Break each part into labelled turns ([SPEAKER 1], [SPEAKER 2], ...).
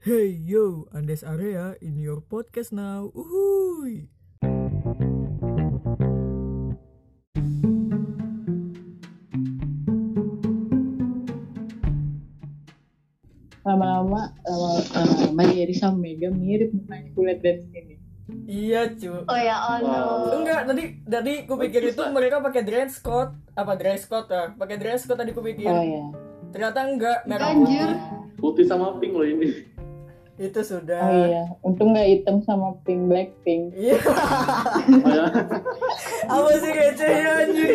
[SPEAKER 1] Hey yo, Andes Area in your podcast now. Uhuy.
[SPEAKER 2] lama-lama lama-lama jadi sama Mega mirip mukanya kulit dan ini
[SPEAKER 1] Iya cu.
[SPEAKER 3] Oh ya Allah.
[SPEAKER 1] Enggak, tadi tadi ku pikir itu mereka pakai dress code apa dress code ya? Pakai dress code tadi ku
[SPEAKER 2] oh
[SPEAKER 1] pikir.
[SPEAKER 2] ya
[SPEAKER 1] Ternyata enggak merah
[SPEAKER 3] Anjir.
[SPEAKER 1] putih.
[SPEAKER 4] putih sama pink loh ini
[SPEAKER 1] Itu sudah.
[SPEAKER 2] oh iya untung nggak hitam sama pink black pink
[SPEAKER 1] Iya.
[SPEAKER 4] Kayak-
[SPEAKER 1] Apa sih recehnya anjir?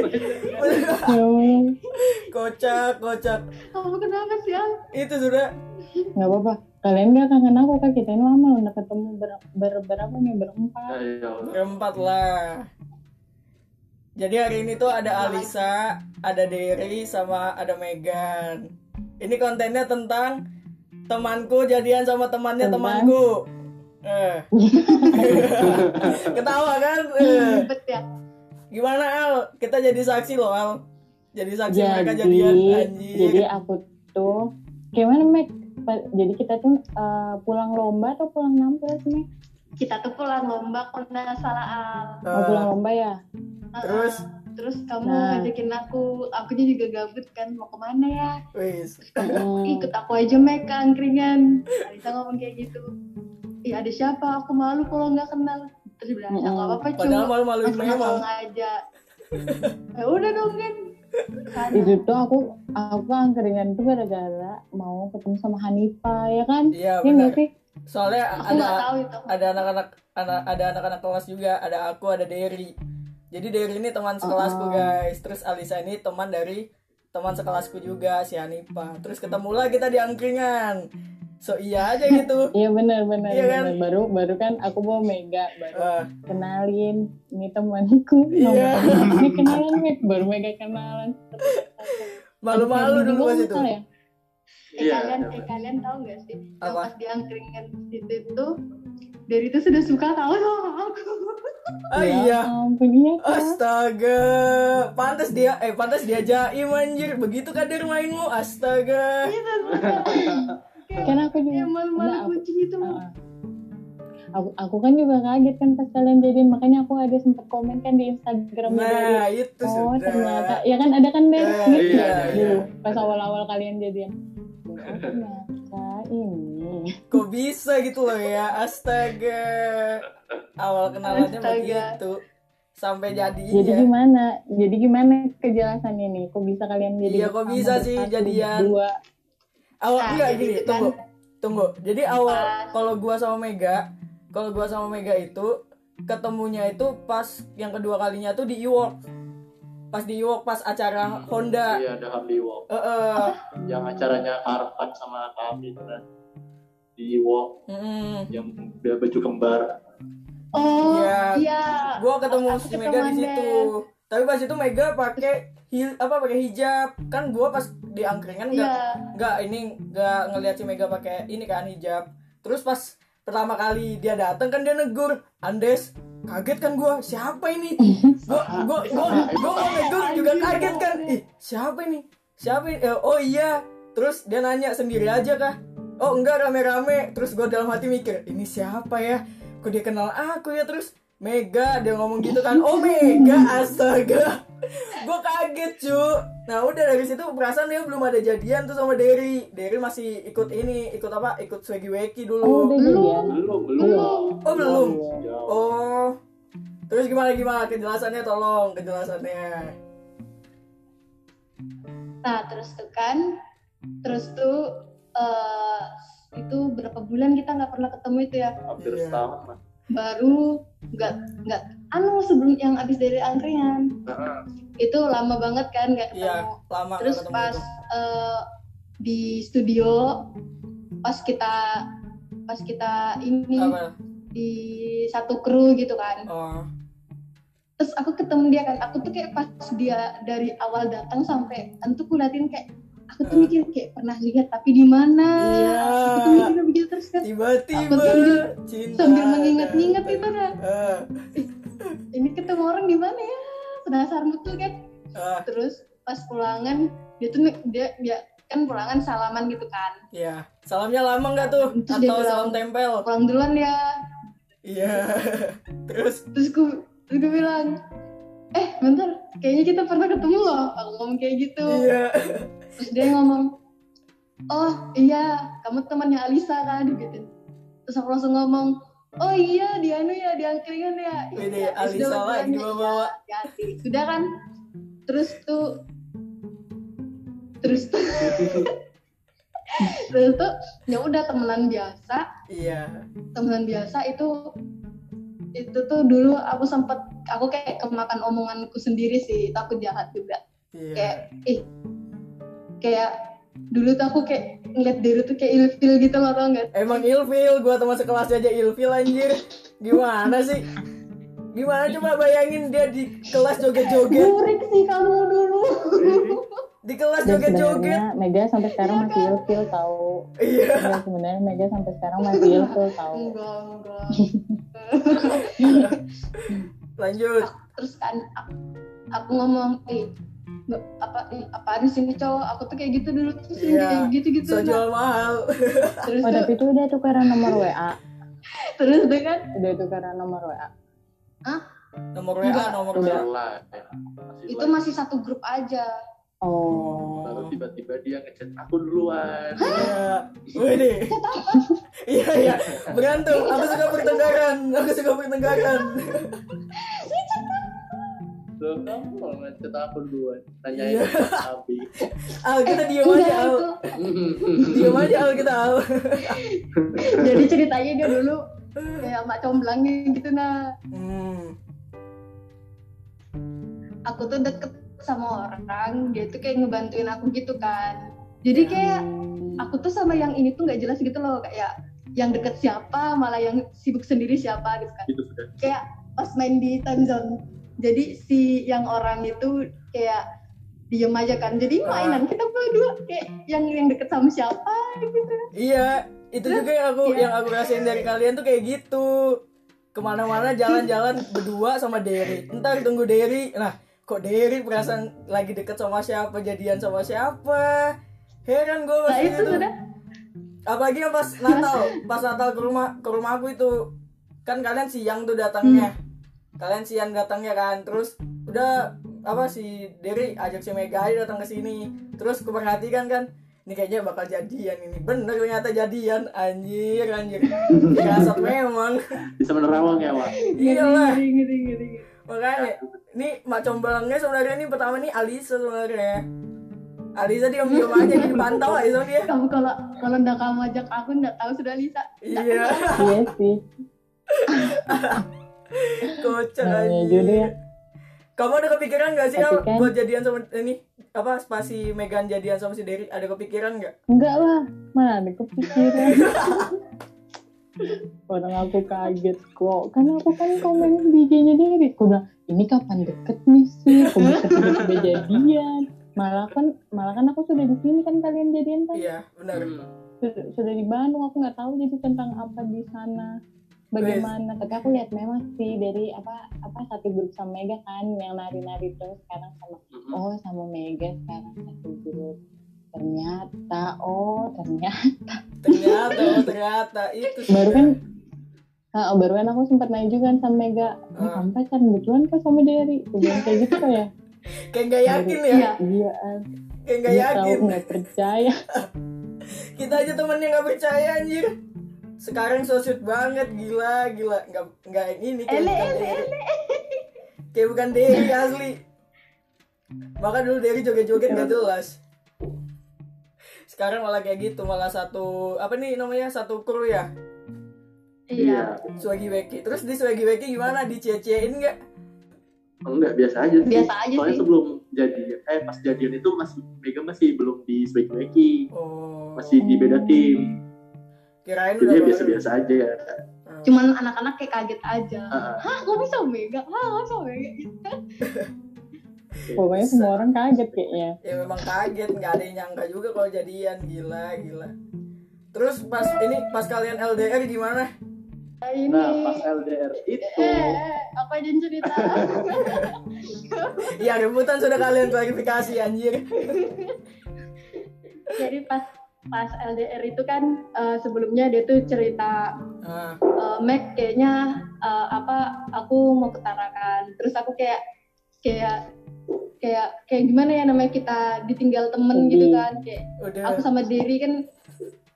[SPEAKER 1] kocak, kocak.
[SPEAKER 3] Kamu kenapa sih? Al?
[SPEAKER 1] Itu sudah.
[SPEAKER 2] nggak apa-apa kalian nggak kangen aku kak kita ini lama udah ketemu ber, ber- berapa nih berempat
[SPEAKER 4] Ayo.
[SPEAKER 1] Keempat lah. Jadi hari ini tuh ada Alisa, ada Derry, sama ada Megan. Ini kontennya tentang temanku jadian sama temannya
[SPEAKER 2] Teman.
[SPEAKER 1] temanku. Eh. Ketawa kan? Eh.
[SPEAKER 3] Ribet ya.
[SPEAKER 1] Gimana Al? Kita jadi saksi loh Al. Jadi saksi mereka
[SPEAKER 2] jadi
[SPEAKER 1] jadian anjir.
[SPEAKER 2] jadi aku tuh gimana Meg Pa- jadi kita tuh eh, pulang lomba atau pulang nampil sih Meg?
[SPEAKER 3] Kita tuh pulang lomba kalau nggak salah Al.
[SPEAKER 2] Mau
[SPEAKER 1] Eh,
[SPEAKER 2] pulang lomba ya?
[SPEAKER 3] Heeh.
[SPEAKER 1] Terus?
[SPEAKER 3] terus kamu
[SPEAKER 2] Nah.
[SPEAKER 3] ngajakin aku, akunya juga gabut kan mau kemana ya?
[SPEAKER 1] wis.
[SPEAKER 3] Terus kamu
[SPEAKER 2] Hmm.
[SPEAKER 3] ikut aku aja make ke angkringan. Alisa ngomong kayak gitu. Ih ada siapa? Aku malu kalau nggak kenal. Terus dia bilang, ya nggak apa-apa
[SPEAKER 1] Hmm, Padahal
[SPEAKER 3] cuma
[SPEAKER 1] malu-maluin
[SPEAKER 3] aku
[SPEAKER 1] memang.
[SPEAKER 3] nongkrong aja. ya udah dong kan. Sana.
[SPEAKER 2] itu tuh aku aku angkringan tuh gara-gara mau ketemu sama Hanifa ya kan
[SPEAKER 1] Iya
[SPEAKER 2] Iya
[SPEAKER 1] benar.
[SPEAKER 2] nggak sih
[SPEAKER 1] Soalnya
[SPEAKER 3] Aku
[SPEAKER 1] ada
[SPEAKER 3] nggak tahu itu.
[SPEAKER 1] ada anak-anak ana- ada anak-anak kelas juga ada aku ada Derry jadi Derry ini teman sekelasku
[SPEAKER 2] Oh.
[SPEAKER 1] guys terus Alisa ini teman dari teman sekelasku juga si Hanifa terus ketemulah kita di angkringan so iya aja gitu
[SPEAKER 2] iya benar benar
[SPEAKER 1] Iya kan?
[SPEAKER 2] benar. baru baru kan aku mau Mega baru
[SPEAKER 1] Wah,
[SPEAKER 2] kenalin ini temanku
[SPEAKER 1] Iya.
[SPEAKER 2] nomor ini kenalan Meg baru Mega kenalan
[SPEAKER 1] malu-malu dulu pas
[SPEAKER 2] Abis
[SPEAKER 1] itu
[SPEAKER 2] kenal ya?
[SPEAKER 3] Eh
[SPEAKER 4] Iya,
[SPEAKER 3] kalian, eh
[SPEAKER 4] iya.
[SPEAKER 3] kalian tahu nggak sih? Yang
[SPEAKER 1] Apa?
[SPEAKER 3] pas di angkringan situ itu dari itu sudah suka tahu sama aku.
[SPEAKER 1] ah
[SPEAKER 2] Ya
[SPEAKER 1] iya
[SPEAKER 2] ampun iya kan?
[SPEAKER 1] astaga pantas dia eh pantas dia jaim anjir begitu kan kader mainmu astaga
[SPEAKER 3] Iya suka.
[SPEAKER 2] kan aku juga
[SPEAKER 3] Kayak malu-malu
[SPEAKER 2] Enggak, aku-
[SPEAKER 3] kucing itu.
[SPEAKER 2] Heeh. aku, aku kan juga kaget kan pas kalian jadiin makanya aku ada sempet komen kan di Instagram
[SPEAKER 1] nah itu
[SPEAKER 2] Oh
[SPEAKER 1] sudah
[SPEAKER 2] ternyata ya kan ada kan dari
[SPEAKER 1] Eh,
[SPEAKER 2] gitu
[SPEAKER 4] iya,
[SPEAKER 2] ya
[SPEAKER 4] iya.
[SPEAKER 2] dulu pas awal-awal kalian jadian. Oh, ternyata ini
[SPEAKER 1] kok bisa gitu loh ya astaga awal kenalannya
[SPEAKER 3] Astaga.
[SPEAKER 1] begitu sampai jadi ya.
[SPEAKER 2] jadi gimana? Jadi gimana kejelasannya nih? Kok bisa kalian jadi?
[SPEAKER 1] Iya, kok bisa sih jadian?
[SPEAKER 2] Dua.
[SPEAKER 1] awal
[SPEAKER 3] Nah,
[SPEAKER 1] enggak
[SPEAKER 3] jadi
[SPEAKER 1] gini
[SPEAKER 3] itu kan-
[SPEAKER 1] tunggu tunggu jadi awal
[SPEAKER 3] Pas.
[SPEAKER 1] kalau gua sama Mega kalau gua sama Mega itu ketemunya itu pas yang kedua kalinya tuh di Iwok pas di Iwok pas acara Honda
[SPEAKER 4] Iya ada Harley Walk
[SPEAKER 1] Eh, eh,
[SPEAKER 4] yang acaranya Arfan sama kami kan di Walk
[SPEAKER 1] mm-mm.
[SPEAKER 4] yang dia baju kembar.
[SPEAKER 3] Oh
[SPEAKER 1] Iya.
[SPEAKER 3] iya.
[SPEAKER 1] gua ketemu
[SPEAKER 3] Aku
[SPEAKER 1] si Mega di
[SPEAKER 3] ketemuan
[SPEAKER 1] situ
[SPEAKER 3] deh.
[SPEAKER 1] tapi pas itu Mega pakai hi- apa pakai hijab kan gua pas di angkringan enggak
[SPEAKER 3] Iya.
[SPEAKER 1] nggak ini nggak ngelihat si Mega pakai ini kan hijab terus pas pertama kali dia datang kan dia negur Andes kaget kan gua siapa ini gua gua gua gua mau negur juga kaget kan ih siapa ini siapa ini Eh, oh iya terus dia nanya sendiri aja kah oh enggak rame-rame terus gua dalam hati mikir ini siapa ya kok dia kenal aku ya terus Mega dia ngomong gitu kan oh Mega astaga gue kaget cu nah udah dari situ perasaan dia belum ada jadian tuh sama Derry Derry masih ikut ini ikut apa ikut swaggy weki
[SPEAKER 2] Oh, udah
[SPEAKER 1] dulu
[SPEAKER 2] jadian.
[SPEAKER 4] Belum belum.
[SPEAKER 1] oh belum
[SPEAKER 4] Ya.
[SPEAKER 1] oh terus gimana gimana kejelasannya tolong kejelasannya
[SPEAKER 3] Nah terus tuh kan, terus tuh eh, itu berapa bulan kita nggak pernah ketemu itu ya?
[SPEAKER 4] Hampir
[SPEAKER 1] Iya.
[SPEAKER 4] setahun lah.
[SPEAKER 3] Baru nggak nggak anu sebelum yang abis dari angkringan
[SPEAKER 4] Nah,
[SPEAKER 3] itu lama banget kan nggak ketemu.
[SPEAKER 1] iya lama nggak
[SPEAKER 3] terus
[SPEAKER 1] ketemu gitu.
[SPEAKER 3] pas
[SPEAKER 1] tuh.
[SPEAKER 3] eh, di studio pas kita pas kita ini
[SPEAKER 1] apa
[SPEAKER 3] di satu kru gitu kan
[SPEAKER 1] oh
[SPEAKER 3] terus aku ketemu dia kan aku tuh kayak pas dia dari awal datang sampai entuh kulatin kayak aku tuh
[SPEAKER 1] Eh.
[SPEAKER 3] mikir kayak pernah lihat tapi di mana
[SPEAKER 1] Iya.
[SPEAKER 3] aku tuh mikir begitu terus kan
[SPEAKER 1] tiba-tiba
[SPEAKER 3] Aku sambil-
[SPEAKER 1] cinta
[SPEAKER 3] sambil mengingat-ingat itu kan
[SPEAKER 1] Eh,
[SPEAKER 3] ini ketemu orang di mana ya penasaran betul kan
[SPEAKER 1] eh,
[SPEAKER 3] terus pas pulangan dia tuh dia dia kan pulangan salaman gitu kan
[SPEAKER 1] Iya. Salamnya lama nggak tuh?
[SPEAKER 3] Terus dia
[SPEAKER 1] Atau
[SPEAKER 3] bilang-
[SPEAKER 1] salam tempel?
[SPEAKER 3] pulang duluan ya
[SPEAKER 1] Iya. Terus
[SPEAKER 3] terus gue terus gue bilang eh bentar kayaknya kita pernah ketemu loh aku ngomong kayak gitu
[SPEAKER 1] iya.
[SPEAKER 3] terus dia ngomong oh iya kamu temannya Alisa kan gitu terus aku langsung ngomong oh iya di anu ya di angkringan ya
[SPEAKER 1] Wede,
[SPEAKER 3] Iya, terus dia
[SPEAKER 1] Alisa
[SPEAKER 3] bilang,
[SPEAKER 1] lagi
[SPEAKER 3] "Iya,
[SPEAKER 1] bawa-bawa."
[SPEAKER 3] iya, hati-hati." sudah kan terus tuh terus tuh terus tuh ya udah temenan biasa
[SPEAKER 1] Iya.
[SPEAKER 3] temenan biasa itu itu tuh dulu aku sempet aku kayak kemakan omonganku sendiri sih takut jahat juga
[SPEAKER 1] Iya.
[SPEAKER 3] kayak ih kayak dulu tuh aku kayak ngeliat diri tuh kayak ilfil gitu loh tau nggak
[SPEAKER 1] Emang ilfil, gua teman sekelas aja ilfil anjir. Gimana sih? Gimana coba bayangin dia di kelas joget-joget,
[SPEAKER 3] burik sih kamu dulu
[SPEAKER 1] di kelas
[SPEAKER 2] Dan
[SPEAKER 1] joget-joget. kan?
[SPEAKER 2] sebenarnya Mega sampai sekarang masih ilfil tahu.
[SPEAKER 1] Iya.
[SPEAKER 2] Dan sebenarnya Mega sampai sekarang masih ilfil tahu.
[SPEAKER 3] enggak enggak
[SPEAKER 1] Lanjut.
[SPEAKER 3] terus kan aku, aku ngomong ih nggak- apa ih, apaan sih ini cowok aku tuh kayak gitu dulu tuh sering
[SPEAKER 1] Iya.
[SPEAKER 3] kayak gitu gitu
[SPEAKER 1] So jual mahal.
[SPEAKER 3] terus
[SPEAKER 2] Oh,
[SPEAKER 3] tuh
[SPEAKER 2] tapi itu udah tukeran nomor WA.
[SPEAKER 3] terus tuh kan
[SPEAKER 2] Udah tukeran nomor WA.
[SPEAKER 1] Nomor WA,
[SPEAKER 3] Enggak.
[SPEAKER 1] nomor
[SPEAKER 2] Udah.
[SPEAKER 1] WA.
[SPEAKER 4] Live. ya. Masih
[SPEAKER 3] itu
[SPEAKER 4] live.
[SPEAKER 3] masih satu grup aja
[SPEAKER 2] Oh.
[SPEAKER 1] Oh.
[SPEAKER 4] Baru tiba-tiba dia ngechat aku duluan.
[SPEAKER 1] Iya. Wede. Iya, iya. Berantem. Aku suka pertengkaran. Aku suka pertengkaran.
[SPEAKER 4] Loh, kamu mau ngechat aku duluan.
[SPEAKER 1] Iya.
[SPEAKER 4] Nanyain Abi.
[SPEAKER 1] Al, kita diem
[SPEAKER 3] Eh, enggak,
[SPEAKER 1] aja, Al.
[SPEAKER 3] itu
[SPEAKER 1] Diem aja, Al, kita, Al.
[SPEAKER 3] jadi ceritanya dia dulu kayak mak comblangnya gitu nah
[SPEAKER 1] Hmm.
[SPEAKER 3] aku tuh deket sama orang dia tuh kayak ngebantuin aku gitu kan jadi kayak aku tuh sama yang ini tuh nggak jelas gitu loh kayak yang deket siapa malah yang sibuk sendiri siapa gitu kan
[SPEAKER 4] Gitu sudah.
[SPEAKER 3] kayak pas main di time zone jadi si yang orang itu kayak diem aja kan jadi mainan kita berdua kayak yang yang deket sama siapa gitu
[SPEAKER 1] Iya, itu juga yang aku
[SPEAKER 3] Iya.
[SPEAKER 1] yang aku rasain dari kalian tuh kayak gitu. Kemana-mana jalan-jalan berdua sama Derry. Ntar tunggu Derry. Nah, kok Derry perasaan lagi deket sama siapa, jadian sama siapa? Heran gue
[SPEAKER 3] nah
[SPEAKER 1] pas
[SPEAKER 3] itu sudah
[SPEAKER 1] Apalagi yang pas Natal, pas Natal ke rumah ke rumah aku itu kan kalian siang tuh datangnya. Kalian siang datangnya kan, terus udah apa si Derry ajak si Mega aja datang ke sini. Terus aku perhatikan kan, ini kayaknya bakal jadian ini. Bener ternyata jadian, anjir anjir. Kasat memang.
[SPEAKER 4] Bisa menerawang ya, Wak?
[SPEAKER 1] Iyalah,
[SPEAKER 3] ngeri ngeri ngeri ngeri.
[SPEAKER 1] makanya ini mak comblangnya sebenarnya ini pertama nih Alisa sebenarnya. Alisa dia diam aja dipantau aja sama dia.
[SPEAKER 3] kamu kalau kalau ndak kamu ajak aku ndak tahu sudah Lisa
[SPEAKER 1] Iya,
[SPEAKER 2] Iya sih.
[SPEAKER 1] kocak
[SPEAKER 2] Namanya
[SPEAKER 1] anjir.
[SPEAKER 2] jodoh ya.
[SPEAKER 1] Kamu ada kepikiran gak sih
[SPEAKER 2] Tapi
[SPEAKER 1] Al,
[SPEAKER 2] kan-
[SPEAKER 1] buat jadian sama ini apa pas si Megan jadian sama si Derry ada kepikiran nggak?
[SPEAKER 2] Enggak lah. Mana kepikiran. Orang aku kaget kok. Karena aku kan komen di IG-nya diri. Aku bilang, ini kapan deket nih sih? Aku bisa tiba-tiba jadian. Malah kan, malah kan aku sudah di sini kan kalian jadian kan?
[SPEAKER 1] Iya benar.
[SPEAKER 4] Hmm.
[SPEAKER 2] Sudah sudah di Bandung. Aku nggak tahu jadi tentang apa di sana. Bagaimana? Tapi aku lihat memang sih dari apa apa satu grup sama Mega kan yang nari-nari terus sekarang sama
[SPEAKER 4] Hmm.
[SPEAKER 2] oh sama Mega sekarang satu grup ternyata oh ternyata
[SPEAKER 1] Ternyata oh, ternyata itu sih.
[SPEAKER 2] baru kan ah, baru kan aku sempat nanya juga kan sama Mega oh,
[SPEAKER 1] Iya. Ah.
[SPEAKER 2] kamu pacaran betulan kok kan sama Derry Aku bilang kayak gitu kan ya
[SPEAKER 1] kayak nggak yakin ya,
[SPEAKER 3] iya
[SPEAKER 2] iya
[SPEAKER 1] kayak nggak
[SPEAKER 2] dia tahu
[SPEAKER 1] yakin.
[SPEAKER 2] nggak percaya
[SPEAKER 1] Kita aja temennya nggak percaya anjir. Sekarang so sweet banget gila gila nggak nggak ini
[SPEAKER 4] Iya,
[SPEAKER 1] kayak
[SPEAKER 3] ele
[SPEAKER 1] bukan
[SPEAKER 3] ele
[SPEAKER 1] Derry.
[SPEAKER 3] ele
[SPEAKER 1] Kayak bukan Derry
[SPEAKER 3] Iya.
[SPEAKER 1] asli. Maka dulu Derry joget-joget nggak
[SPEAKER 3] Iya.
[SPEAKER 1] jelas. Sekarang malah kayak gitu malah satu apa nih namanya satu kru ya.
[SPEAKER 3] iya
[SPEAKER 1] Swaggy Weki. Terus di Swaggy Weki gimana? Dicie-ciein nggak?
[SPEAKER 4] Enggak, biasa aja sih.
[SPEAKER 3] biasa aja
[SPEAKER 4] Soalnya
[SPEAKER 3] sih
[SPEAKER 4] sebelum jadian, eh pas jadian itu masih Mega masih belum di swag-swagi.
[SPEAKER 1] Oh.
[SPEAKER 4] Masih di beda
[SPEAKER 3] Hmm.
[SPEAKER 4] tim.
[SPEAKER 3] Iya,
[SPEAKER 1] Kirain
[SPEAKER 4] Jadi
[SPEAKER 1] udah
[SPEAKER 4] ya
[SPEAKER 1] baru.
[SPEAKER 4] biasa-biasa aja ya.
[SPEAKER 1] Ah.
[SPEAKER 3] cuman anak-anak kayak kaget aja
[SPEAKER 4] Ah,
[SPEAKER 3] hah kok bisa mega hah kok bisa mega gitu
[SPEAKER 2] pokoknya semua orang kaget kayaknya
[SPEAKER 1] Ya memang kaget, nggak ada yang nyangka juga kalau jadian, gila, gila. Terus pas ini pas kalian LDR gimana?
[SPEAKER 3] Nah, ini
[SPEAKER 4] Nah, pas LDR itu
[SPEAKER 3] eh, eh, apa yang cerita
[SPEAKER 1] Iya, Ya rebutan sudah kalian klarifikasi anjir.
[SPEAKER 3] jadi pas pas LDR itu kan eh, sebelumnya dia tuh cerita
[SPEAKER 1] Ah,
[SPEAKER 3] eh, Mac kayaknya eh, apa aku mau ketarakan terus aku kayak kayak kayak kayak gimana ya namanya kita ditinggal temen gitu
[SPEAKER 4] Mm-hmm.
[SPEAKER 3] kan kayak
[SPEAKER 1] udah
[SPEAKER 3] aku sama Derry kan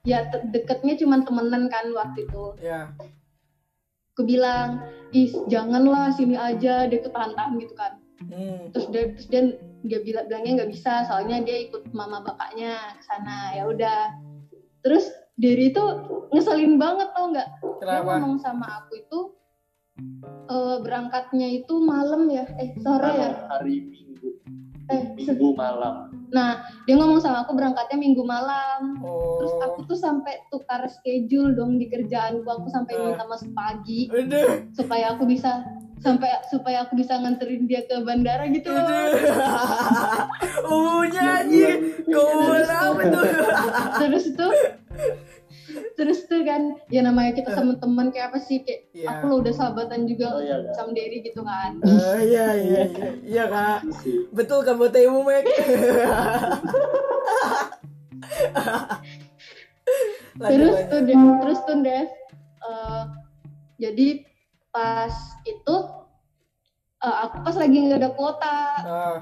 [SPEAKER 3] ya te- deketnya cuman temenan kan waktu itu
[SPEAKER 1] ya
[SPEAKER 3] aku bilang ih janganlah sini aja dia ketantam gitu kan
[SPEAKER 1] hmm.
[SPEAKER 3] terus dia terus dia dia bilang bilangnya nggak bisa soalnya dia ikut mama bapaknya ke sana ya udah terus Derry itu ngeselin banget tau nggak dia
[SPEAKER 1] kenapa
[SPEAKER 3] ngomong sama aku itu eh, berangkatnya itu malam ya eh sore ya
[SPEAKER 4] Malam, hari Minggu,
[SPEAKER 3] eh se-
[SPEAKER 4] Minggu malam.
[SPEAKER 3] dia ngomong sama aku berangkatnya minggu malam terus
[SPEAKER 1] oh
[SPEAKER 3] aku tuh sampai tukar schedule dong di kerjaan gua aku sampai
[SPEAKER 1] Eh.
[SPEAKER 3] minta
[SPEAKER 4] Ah.
[SPEAKER 3] masuk pagi
[SPEAKER 1] udah
[SPEAKER 3] supaya aku bisa sampai supaya aku bisa nganterin dia ke bandara gitu loh.
[SPEAKER 1] Oh
[SPEAKER 3] Ya, iya.
[SPEAKER 1] nyanyi
[SPEAKER 4] Yang
[SPEAKER 1] Kau apa tuh
[SPEAKER 3] terus tuh terus tuh kan ya namanya kita temen-temen kayak apa sih kayak aku
[SPEAKER 1] Iya
[SPEAKER 3] lo udah sahabatan juga
[SPEAKER 4] Oh iya, Kak.
[SPEAKER 3] sama Derry gitu kan
[SPEAKER 1] Eh, Iya iya iya Iya kak
[SPEAKER 4] Sisi.
[SPEAKER 1] Betul kan buat ibu Mek Lanjut,
[SPEAKER 3] terus
[SPEAKER 4] Iya.
[SPEAKER 1] lanjut.
[SPEAKER 3] tuh Des- terus tuh Des eh, jadi pas itu eh, aku pas lagi nggak ada kuota
[SPEAKER 1] Ah,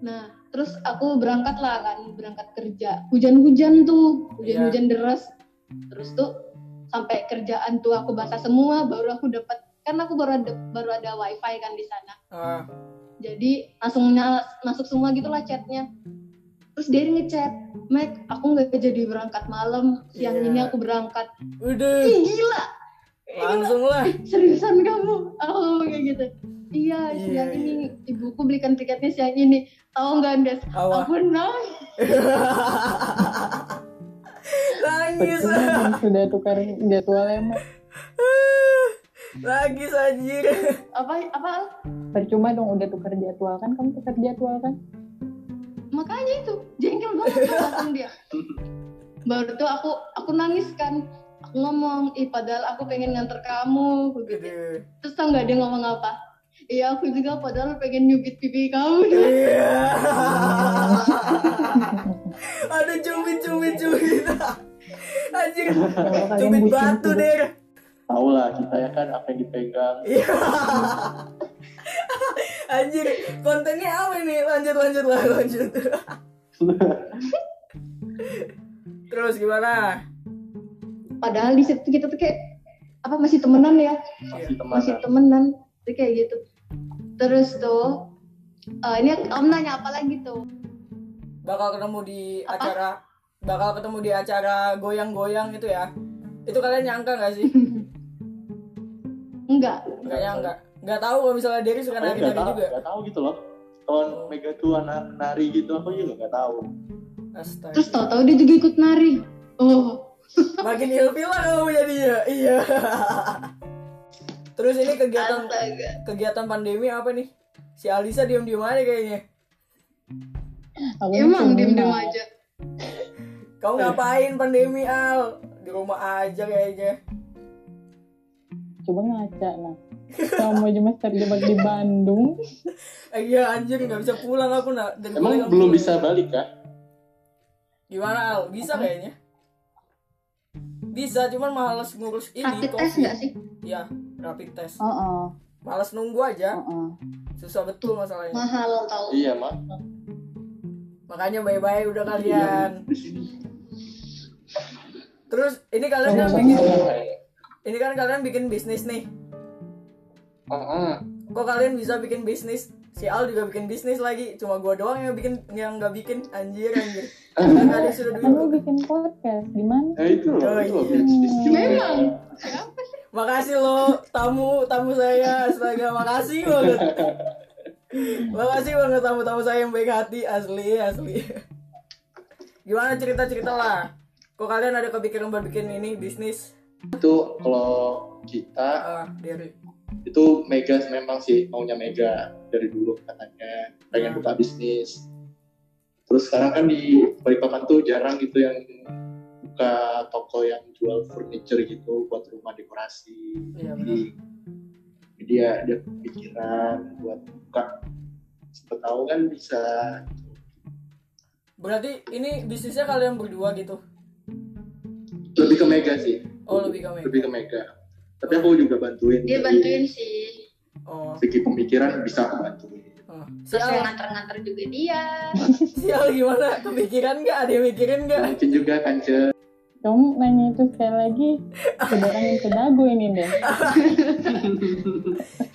[SPEAKER 3] nah terus aku berangkat lah kan berangkat kerja hujan-hujan tuh hujan-hujan
[SPEAKER 1] Iya.
[SPEAKER 3] deras terus tuh sampai kerjaan tuh aku basah semua baru aku dapat kan aku baru ada baru ada wifi kan di sana
[SPEAKER 1] ah,
[SPEAKER 3] jadi langsung nyala- masuk semua gitulah chatnya terus dia ngechat Mac aku nggak jadi berangkat malam siang
[SPEAKER 1] Iya.
[SPEAKER 3] ini aku berangkat
[SPEAKER 1] Udah
[SPEAKER 3] Ih, gila
[SPEAKER 1] Langsung lah
[SPEAKER 3] seriusan kamu aku ngomong kayak gitu iya
[SPEAKER 1] Iya,
[SPEAKER 3] siang ini ibuku belikan tiketnya siang ini tahu nggak Andes
[SPEAKER 1] Awah
[SPEAKER 3] aku nangis
[SPEAKER 1] Nangis
[SPEAKER 2] Betul, kan? sudah tukar ya, jadwalnya Mak.
[SPEAKER 1] Lagi anjir
[SPEAKER 3] apa apa Al?
[SPEAKER 2] percuma dong udah tukar jadwal kan kamu tukar jadwal kan
[SPEAKER 3] makanya itu jengkel banget tuh langsung dia baru tuh aku aku nangis kan aku ngomong ih padahal aku pengen nganter kamu aku gitu
[SPEAKER 1] Aduh.
[SPEAKER 3] terus tau nggak dia ngomong apa iya aku juga padahal pengen nyubit pipi kamu
[SPEAKER 1] Iya Aduh cubit cubit cubit Anjir
[SPEAKER 2] Kalau kalian
[SPEAKER 1] Cubit
[SPEAKER 2] bucin,
[SPEAKER 1] batu
[SPEAKER 2] cubit.
[SPEAKER 1] der
[SPEAKER 4] Tahu lah kita ya kan apa yang dipegang.
[SPEAKER 1] Iya. Anjir, kontennya apa ini? Lanjut, lanjut lah, lanjut. Terus gimana?
[SPEAKER 3] padahal di situ kita tuh kayak apa masih temenan ya
[SPEAKER 4] Masih
[SPEAKER 3] masih
[SPEAKER 4] temenan.
[SPEAKER 3] temenan tuh kayak gitu terus tuh eh, ini om nanya apa lagi tuh
[SPEAKER 1] Bakal ketemu di acara, bakal ketemu di acara goyang-goyang itu ya? Itu kalian nyangka nggak sih?
[SPEAKER 3] enggak
[SPEAKER 1] Nggak nyangka. Nggak tahu kalau misalnya Derry suka
[SPEAKER 4] Aku Oh, iya, nggak
[SPEAKER 1] nari-nari
[SPEAKER 4] tahu,
[SPEAKER 1] juga.
[SPEAKER 4] nggak tahu gitu loh. Kalau Mega tua na- nari gitu aku juga nggak tahu.
[SPEAKER 1] Astaga.
[SPEAKER 3] terus tau-tau dia juga ikut nari oh
[SPEAKER 1] Makin ilfil lah kamu jadinya. Iya. Terus ini kegiatan
[SPEAKER 3] astaga
[SPEAKER 1] kegiatan pandemi apa nih? Si Alisa diem-diem aja kayaknya.
[SPEAKER 2] Aku kan
[SPEAKER 3] emang
[SPEAKER 2] tuh
[SPEAKER 3] diem-diem
[SPEAKER 2] Mak.
[SPEAKER 3] aja
[SPEAKER 1] Kau
[SPEAKER 4] Iya.
[SPEAKER 1] ngapain pandemi Al? Di rumah aja kayaknya.
[SPEAKER 2] coba ngaca nah kamu aja semester jebak di Bandung
[SPEAKER 1] Eh, iya anjir nggak bisa pulang aku nak.
[SPEAKER 3] Iya,
[SPEAKER 1] Dan
[SPEAKER 4] Emang
[SPEAKER 1] pulang-
[SPEAKER 4] belum bisa balik ya? kah?
[SPEAKER 1] Gimana Al? Bisa kayaknya. Bisa cuman males ngurus ini.
[SPEAKER 3] rapid tes
[SPEAKER 1] COVID.
[SPEAKER 3] nggak sih
[SPEAKER 1] Iya rapid test.
[SPEAKER 2] oh oh
[SPEAKER 1] Males nunggu aja.
[SPEAKER 2] oh oh
[SPEAKER 1] Susah betul masalahnya.
[SPEAKER 3] mahal tau
[SPEAKER 4] Iya mah.
[SPEAKER 1] Makanya bye-bye udah
[SPEAKER 4] Iya,
[SPEAKER 1] kalian. Terus ini kalian kan bikin ini kan kalian bikin bisnis nih.
[SPEAKER 4] Heeh.
[SPEAKER 1] Kok kalian bisa bikin bisnis? Si Al juga bikin bisnis lagi. Cuma gua doang yang bikin yang nggak bikin anjir anjir. Kan kalian sudah
[SPEAKER 2] kan lu
[SPEAKER 1] duit.
[SPEAKER 2] bikin podcast gimana
[SPEAKER 4] Nah itu loh,
[SPEAKER 1] Oh,
[SPEAKER 4] itu loh
[SPEAKER 1] iya.
[SPEAKER 4] bisnis juga.
[SPEAKER 3] Memang.
[SPEAKER 1] Makasih lo tamu tamu saya astaga makasih banget. makasih banget tamu-tamu saya yang baik hati asli asli. Gimana cerita-cerita lah. Kok kalian ada kepikiran buat bikin ini bisnis?
[SPEAKER 4] Itu kalau kita
[SPEAKER 1] Ah, dari
[SPEAKER 4] itu Mega memang sih maunya Mega dari dulu katanya pengen buka bisnis. Terus sekarang kan di Balikpapan tuh jarang gitu yang buka toko yang jual furniture gitu buat rumah dekorasi.
[SPEAKER 1] Iya,
[SPEAKER 4] Jadi ya dia dia kepikiran buat buka. Siapa tahu kan bisa
[SPEAKER 1] Berarti ini bisnisnya kalian berdua gitu.
[SPEAKER 4] lebih ke Mega sih
[SPEAKER 1] Oh, lebih ke Mega.
[SPEAKER 4] lebih ke Mega tapi aku juga bantuin
[SPEAKER 3] dia
[SPEAKER 4] Jadi,
[SPEAKER 3] bantuin sih
[SPEAKER 1] Oh.
[SPEAKER 4] segi pemikiran bisa aku bantuin
[SPEAKER 1] oh.
[SPEAKER 3] terus yang
[SPEAKER 1] Sial,
[SPEAKER 3] nganter-nganter juga dia
[SPEAKER 1] sial gimana? Kepikiran nggak? Ada yang mikirin nggak?
[SPEAKER 4] mungkin juga kan, kance
[SPEAKER 2] Dong nanya itu sekali lagi kedarangin ke dagu ini deh.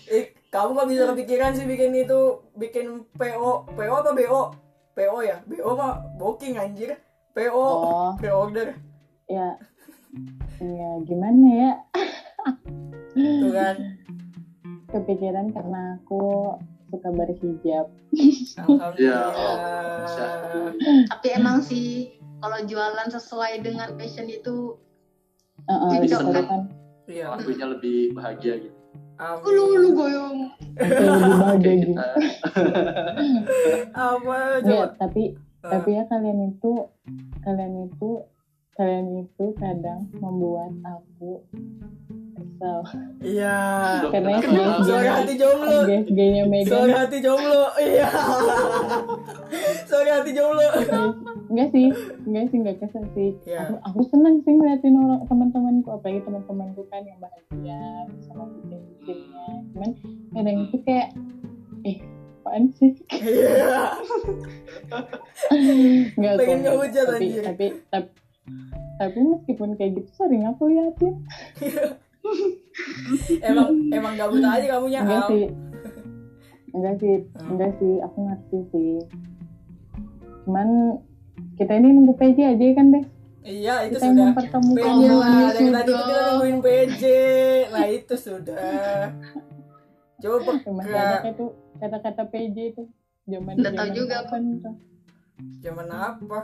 [SPEAKER 1] Eh, kamu kok bisa kepikiran sih bikin itu bikin PO PO apa BO PO ya BO apa booking anjir PO
[SPEAKER 2] Oh.
[SPEAKER 1] pre-order
[SPEAKER 2] Ya, ya gimana ya?
[SPEAKER 1] tuh kan
[SPEAKER 2] Kepikiran karena aku suka berhijab.
[SPEAKER 4] ya
[SPEAKER 1] alhamdulillah
[SPEAKER 4] bisa
[SPEAKER 3] tapi emang sih kalau jualan sesuai dengan passion itu
[SPEAKER 2] Heeh,
[SPEAKER 3] Jadi
[SPEAKER 2] uh,
[SPEAKER 3] seneng.
[SPEAKER 2] kan
[SPEAKER 1] iya
[SPEAKER 4] lakunya lebih bahagia gitu
[SPEAKER 3] aku lu
[SPEAKER 1] amin
[SPEAKER 3] lu goyong
[SPEAKER 1] Ah,
[SPEAKER 2] lebih
[SPEAKER 1] iya,
[SPEAKER 2] bahagia
[SPEAKER 4] Kayak
[SPEAKER 2] gitu.
[SPEAKER 4] kita
[SPEAKER 1] apa
[SPEAKER 2] Ya,
[SPEAKER 1] coba
[SPEAKER 2] tapi
[SPEAKER 1] Ah,
[SPEAKER 2] tapi ya kalian itu kalian itu kalian itu kadang membuat aku kesal.
[SPEAKER 1] iya
[SPEAKER 2] Karena
[SPEAKER 4] Kenapa?
[SPEAKER 2] kenapa?
[SPEAKER 1] sorry hati jomblo
[SPEAKER 2] Gaya
[SPEAKER 1] sorry
[SPEAKER 2] Megan
[SPEAKER 1] hati jomblo iya sorry hati jomblo
[SPEAKER 2] enggak sih, enggak sih enggak kesel sih.
[SPEAKER 1] Iya.
[SPEAKER 2] Aku, aku seneng sih ngeliatin orang teman-temanku apalagi teman-temanku kan yang bahagia sama bikin bikinnya. Cuman kadang itu kayak eh apaan sih?
[SPEAKER 1] iya
[SPEAKER 2] Enggak kok,
[SPEAKER 1] Pengen
[SPEAKER 2] enggak.
[SPEAKER 1] ngehujat,
[SPEAKER 2] tapi,
[SPEAKER 1] anjir.
[SPEAKER 2] tapi tapi tapi meskipun kayak gitu sering aku liatin
[SPEAKER 1] emang emang gabut aja kamunya
[SPEAKER 2] enggak
[SPEAKER 1] Am.
[SPEAKER 2] sih enggak sih
[SPEAKER 1] Ya Hmm.
[SPEAKER 2] enggak sih aku ngerti sih cuman kita ini nunggu PJ aja kan deh
[SPEAKER 1] iya itu
[SPEAKER 2] kita gitu yang
[SPEAKER 1] sudah
[SPEAKER 2] mempertemukan
[SPEAKER 1] PJ
[SPEAKER 3] Oh,
[SPEAKER 1] lah dari
[SPEAKER 3] sudah.
[SPEAKER 1] tadi tuh kita nungguin PJ nah itu sudah coba
[SPEAKER 2] cuma
[SPEAKER 1] peka
[SPEAKER 2] ada tuh kata-kata PJ itu zaman
[SPEAKER 3] Nggak tahu juga aku.
[SPEAKER 2] kapan tuh.
[SPEAKER 1] zaman apa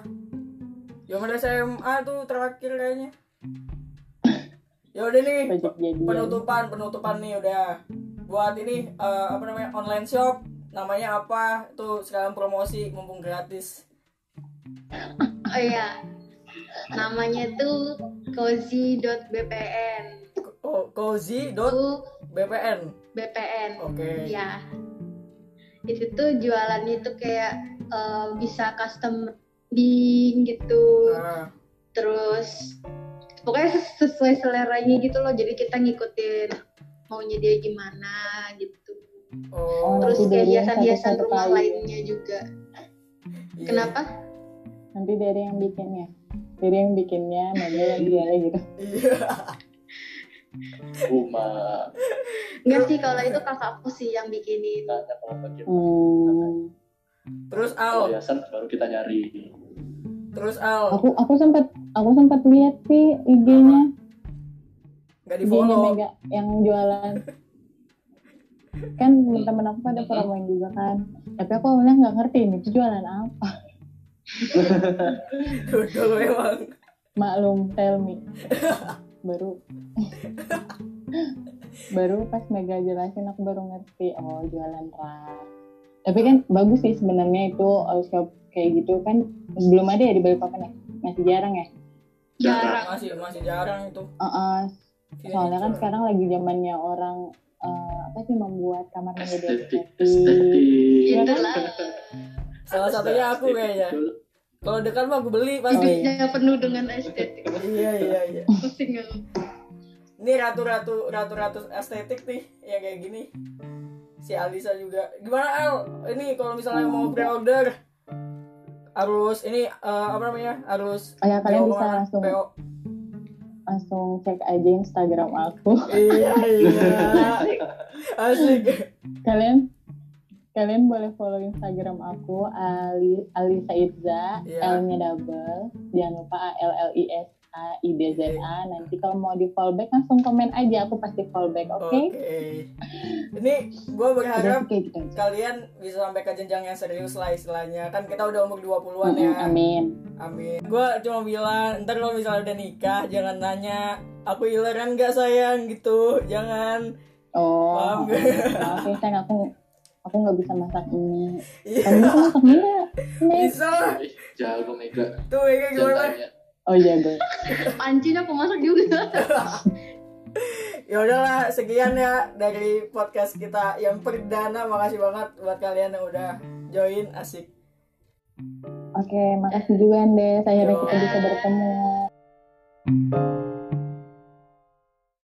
[SPEAKER 1] zaman SMA tuh terakhir kayaknya ya udah nih
[SPEAKER 2] project jadi
[SPEAKER 1] penutupan penutupan nih udah buat ini eh, apa namanya online shop namanya apa tuh sekalian promosi mumpung gratis
[SPEAKER 3] oh iya namanya tuh cozy.bpn
[SPEAKER 1] oh, cozy.bpn
[SPEAKER 3] itu BPN
[SPEAKER 1] oke
[SPEAKER 3] ya itu tuh jualannya tuh kayak eh, bisa custom branding gitu
[SPEAKER 1] Nah,
[SPEAKER 3] terus pokoknya ses- sesuai seleranya gitu loh jadi kita ngikutin maunya dia gimana gitu
[SPEAKER 1] oh,
[SPEAKER 2] Nanti
[SPEAKER 3] terus kayak
[SPEAKER 2] dari yang
[SPEAKER 3] hiasan-hiasan
[SPEAKER 2] ya, satu-satu
[SPEAKER 3] rumah
[SPEAKER 2] kali.
[SPEAKER 3] lainnya juga
[SPEAKER 1] iya.
[SPEAKER 3] kenapa
[SPEAKER 2] nanti dari yang bikinnya dari yang bikinnya Mega yang jualnya gitu
[SPEAKER 1] iya
[SPEAKER 4] rumah
[SPEAKER 3] enggak sih kalau itu
[SPEAKER 2] Iya.
[SPEAKER 3] kakak aku sih yang bikinin
[SPEAKER 4] tanya kalau bagian
[SPEAKER 1] Oh.
[SPEAKER 2] hmm.
[SPEAKER 1] terus Al
[SPEAKER 4] perhiasan baru kita nyari
[SPEAKER 1] terus Al
[SPEAKER 2] aku aku sempat aku sempat lihat sih IG-nya
[SPEAKER 1] nggak di
[SPEAKER 2] Gini
[SPEAKER 1] follow
[SPEAKER 2] Mega yang jualan kan temen aku pada promoin juga kan tapi aku awalnya nggak ngerti ini tuh jualan apa
[SPEAKER 1] gitu dulu emang
[SPEAKER 2] maklum tell me baru baru pas Mega jelasin aku baru ngerti oh jualan rak tapi kan bagus sih sebenarnya itu uh, shop kayak gitu kan belum ada ya di Balikpapan ya masih jarang ya
[SPEAKER 3] jarak
[SPEAKER 1] masih masih jarang itu
[SPEAKER 2] Uh-uh, soalnya kan
[SPEAKER 1] Signature.
[SPEAKER 2] sekarang lagi zamannya orang uh, apa sih membuat kamar menjadi
[SPEAKER 4] estetik
[SPEAKER 2] estetik
[SPEAKER 4] estetik
[SPEAKER 2] Iya.
[SPEAKER 3] itulah
[SPEAKER 1] salah satunya aku kayaknya kalau dekat mah aku beli
[SPEAKER 2] Oh,
[SPEAKER 1] pasti
[SPEAKER 2] iya.
[SPEAKER 3] hidupnya penuh dengan estetik
[SPEAKER 1] iya iya iya
[SPEAKER 3] pusing aku.
[SPEAKER 1] ini ratu ratu ratu ratu estetik nih yang kayak gini si Alisa juga gimana Al ini kalau misalnya mau pre-order harus ini eh, apa namanya harus
[SPEAKER 2] Oh ya kalian
[SPEAKER 1] PO
[SPEAKER 2] bisa
[SPEAKER 1] kemana?
[SPEAKER 2] langsung
[SPEAKER 1] PO.
[SPEAKER 2] langsung cek aja Instagram aku.
[SPEAKER 1] iya iya asik
[SPEAKER 2] Kalian kalian boleh follow Instagram aku Ali Alisa Itza,
[SPEAKER 1] Iya.
[SPEAKER 2] L-nya double. Jangan lupa A L L I S A I D Z
[SPEAKER 1] Iya.
[SPEAKER 2] A. Nanti kalau mau di follow back langsung komen aja aku pasti follow back, oke?
[SPEAKER 1] oke ini gue berharap
[SPEAKER 2] Udah sih kayak gitu aja.
[SPEAKER 1] kalian bisa sampai ke jenjang yang serius lah istilahnya kan kita udah umur 20-an
[SPEAKER 2] Mm-mm,
[SPEAKER 1] ya
[SPEAKER 2] Amin.
[SPEAKER 1] amin gue cuma bilang ntar kalau misalnya udah nikah jangan nanya aku ileran gak sayang gitu jangan
[SPEAKER 2] Oh.
[SPEAKER 1] Paham gak?
[SPEAKER 2] Maaf ya, sayang aku aku nggak bisa masak mie. Kamu
[SPEAKER 1] iya
[SPEAKER 2] bisa masak mie nggak? Nek?
[SPEAKER 1] bisa lah.
[SPEAKER 4] Eh, jago mega
[SPEAKER 1] tuh Mega
[SPEAKER 4] jangan
[SPEAKER 1] gimana
[SPEAKER 4] tanya
[SPEAKER 2] Oh iya gue.
[SPEAKER 3] pancing aku masak juga
[SPEAKER 1] ya udahlah sekian ya dari podcast kita yang perdana makasih banget buat kalian yang udah join asik Iya.
[SPEAKER 2] Oke, makasih juga Andes. Akhirnya kita bisa bertemu.